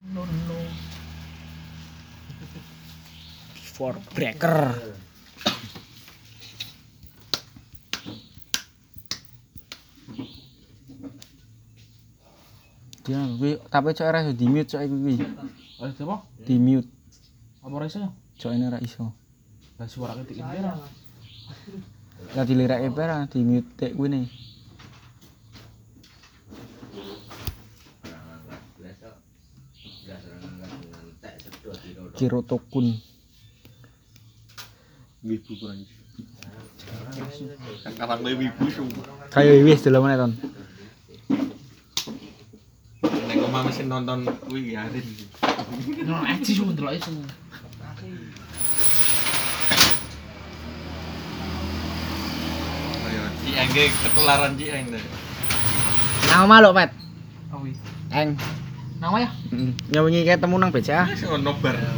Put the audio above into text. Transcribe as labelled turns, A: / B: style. A: Nono. For breaker.
B: Dia kuwi tapi cok ora iso di-mute cok iku kuwi.
A: Eh, siapa?
B: Di-mute
A: Apa rasanya?
B: cok ini ora iso.
A: Lah suara kita ini ya. lah.
B: Lah dilirake ora di-mute tek kuwi ne.
C: orang angkat biasa biasa orang angkat dengan tek sedot di rodok
B: Kiro tokun.
D: wibu kurang Kan kapan kowe wibu sumpah
B: Kayo wis delok meneh ton.
D: nek omah mesin nonton kuwi ya Arin
A: Nol aja sih ndelok iso.
D: kaya Cieng ge ketularan Cieng deh
B: Nama lo, Pat.
A: Awi.
B: Eng.
A: Nama ya?
B: Nyawangi ketemu nang BCA.
D: Wis ono bar